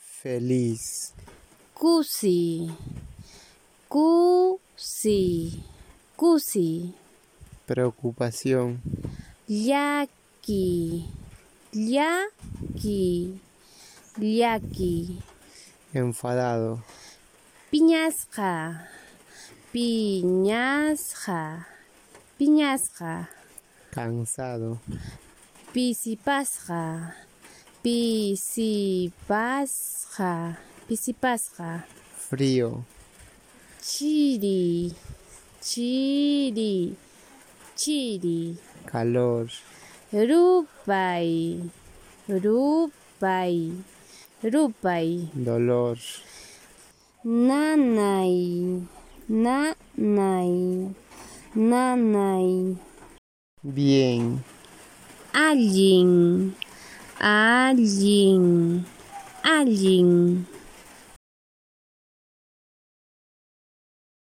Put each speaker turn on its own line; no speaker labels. Feliz.
Cusi. Cusi. Cusi.
Preocupación.
Yaqui. Yaqui. Yaqui.
Enfadado.
Piñasca. Piñasca. Piñasca.
Cansado.
Pisipasca. Pisipasca. Pisipasca.
Frío.
Chiri. Chiri. Chiri.
Calor.
Rupai. Rupai. Rupai.
Dolor.
Nanai. Nanai. Nanai.
Bien.
Alguien. Alguien. Alguien.